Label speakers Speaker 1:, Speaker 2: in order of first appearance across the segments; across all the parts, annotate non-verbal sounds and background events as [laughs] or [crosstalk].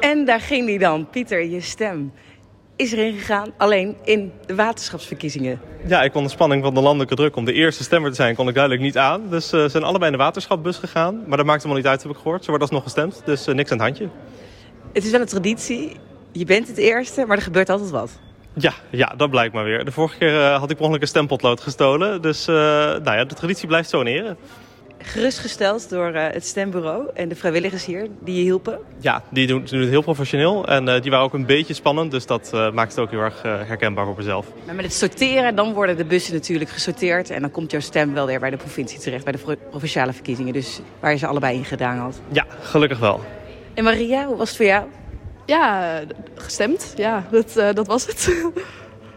Speaker 1: En daar ging hij dan. Pieter, je stem is erin gegaan, alleen in de waterschapsverkiezingen.
Speaker 2: Ja, ik kon de spanning van de landelijke druk om de eerste stemmer te zijn, kon ik duidelijk niet aan. Dus eh, ze zijn allebei in de waterschapbus gegaan. Maar dat maakt helemaal niet uit, heb ik gehoord. Ze wordt alsnog gestemd, dus eh, niks aan het handje.
Speaker 1: Het is wel een traditie. Je bent het eerste, maar er gebeurt altijd wat.
Speaker 2: Ja, ja, dat blijkt maar weer. De vorige keer eh, had ik per ongeluk een stempotlood gestolen. Dus eh, nou ja, de traditie blijft zo in ere.
Speaker 1: Gerustgesteld door eh, het stembureau en de vrijwilligers hier die je hielpen.
Speaker 2: Ja, die doen, ze doen het heel professioneel. En eh, die waren ook een beetje spannend. Dus dat eh, maakt het ook heel erg eh, herkenbaar voor mezelf.
Speaker 1: Maar met het sorteren, dan worden de bussen natuurlijk gesorteerd. En dan komt jouw stem wel weer bij de provincie terecht, bij de pro- provinciale verkiezingen. Dus waar je ze allebei in gedaan had.
Speaker 2: Ja, gelukkig wel.
Speaker 1: En Maria, hoe was het voor jou?
Speaker 3: Ja, eh, gestemd. Ja, dat, eh, dat was het. [laughs]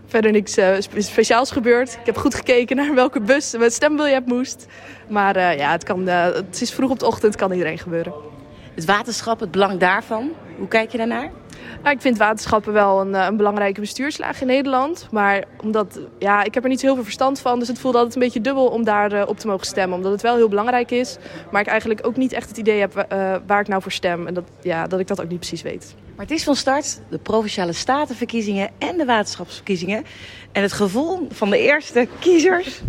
Speaker 3: Verder niks eh, spe- speciaals gebeurd. Ik heb goed gekeken naar welke bus met stembiljet moest. Maar eh, ja, het, kan, eh, het is vroeg op de ochtend, kan iedereen gebeuren.
Speaker 1: Het waterschap, het belang daarvan. Hoe kijk je daarnaar?
Speaker 3: Nou, ik vind waterschappen wel een, eh, een belangrijke bestuurslaag in Nederland. Maar omdat, ja, ik heb er niet zo heel veel verstand van. Dus het voelde altijd een beetje dubbel om daar eh, op te mogen stemmen. Omdat het wel heel belangrijk is. Maar ik eigenlijk ook niet echt het idee heb wa- eh, waar ik nou voor stem. En dat, ja, dat ik dat ook niet precies weet.
Speaker 1: Maar het is van start de provinciale statenverkiezingen en de waterschapsverkiezingen. En het gevoel van de eerste kiezers.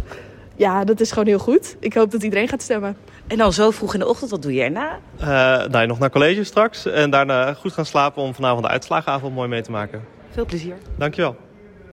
Speaker 3: Ja, dat is gewoon heel goed. Ik hoop dat iedereen gaat stemmen.
Speaker 1: En dan zo vroeg in de ochtend, wat doe je erna?
Speaker 2: Eh nou, nog naar college straks. En daarna goed gaan slapen om vanavond de uitslagenavond mooi mee te maken.
Speaker 1: Veel plezier.
Speaker 2: Dankjewel.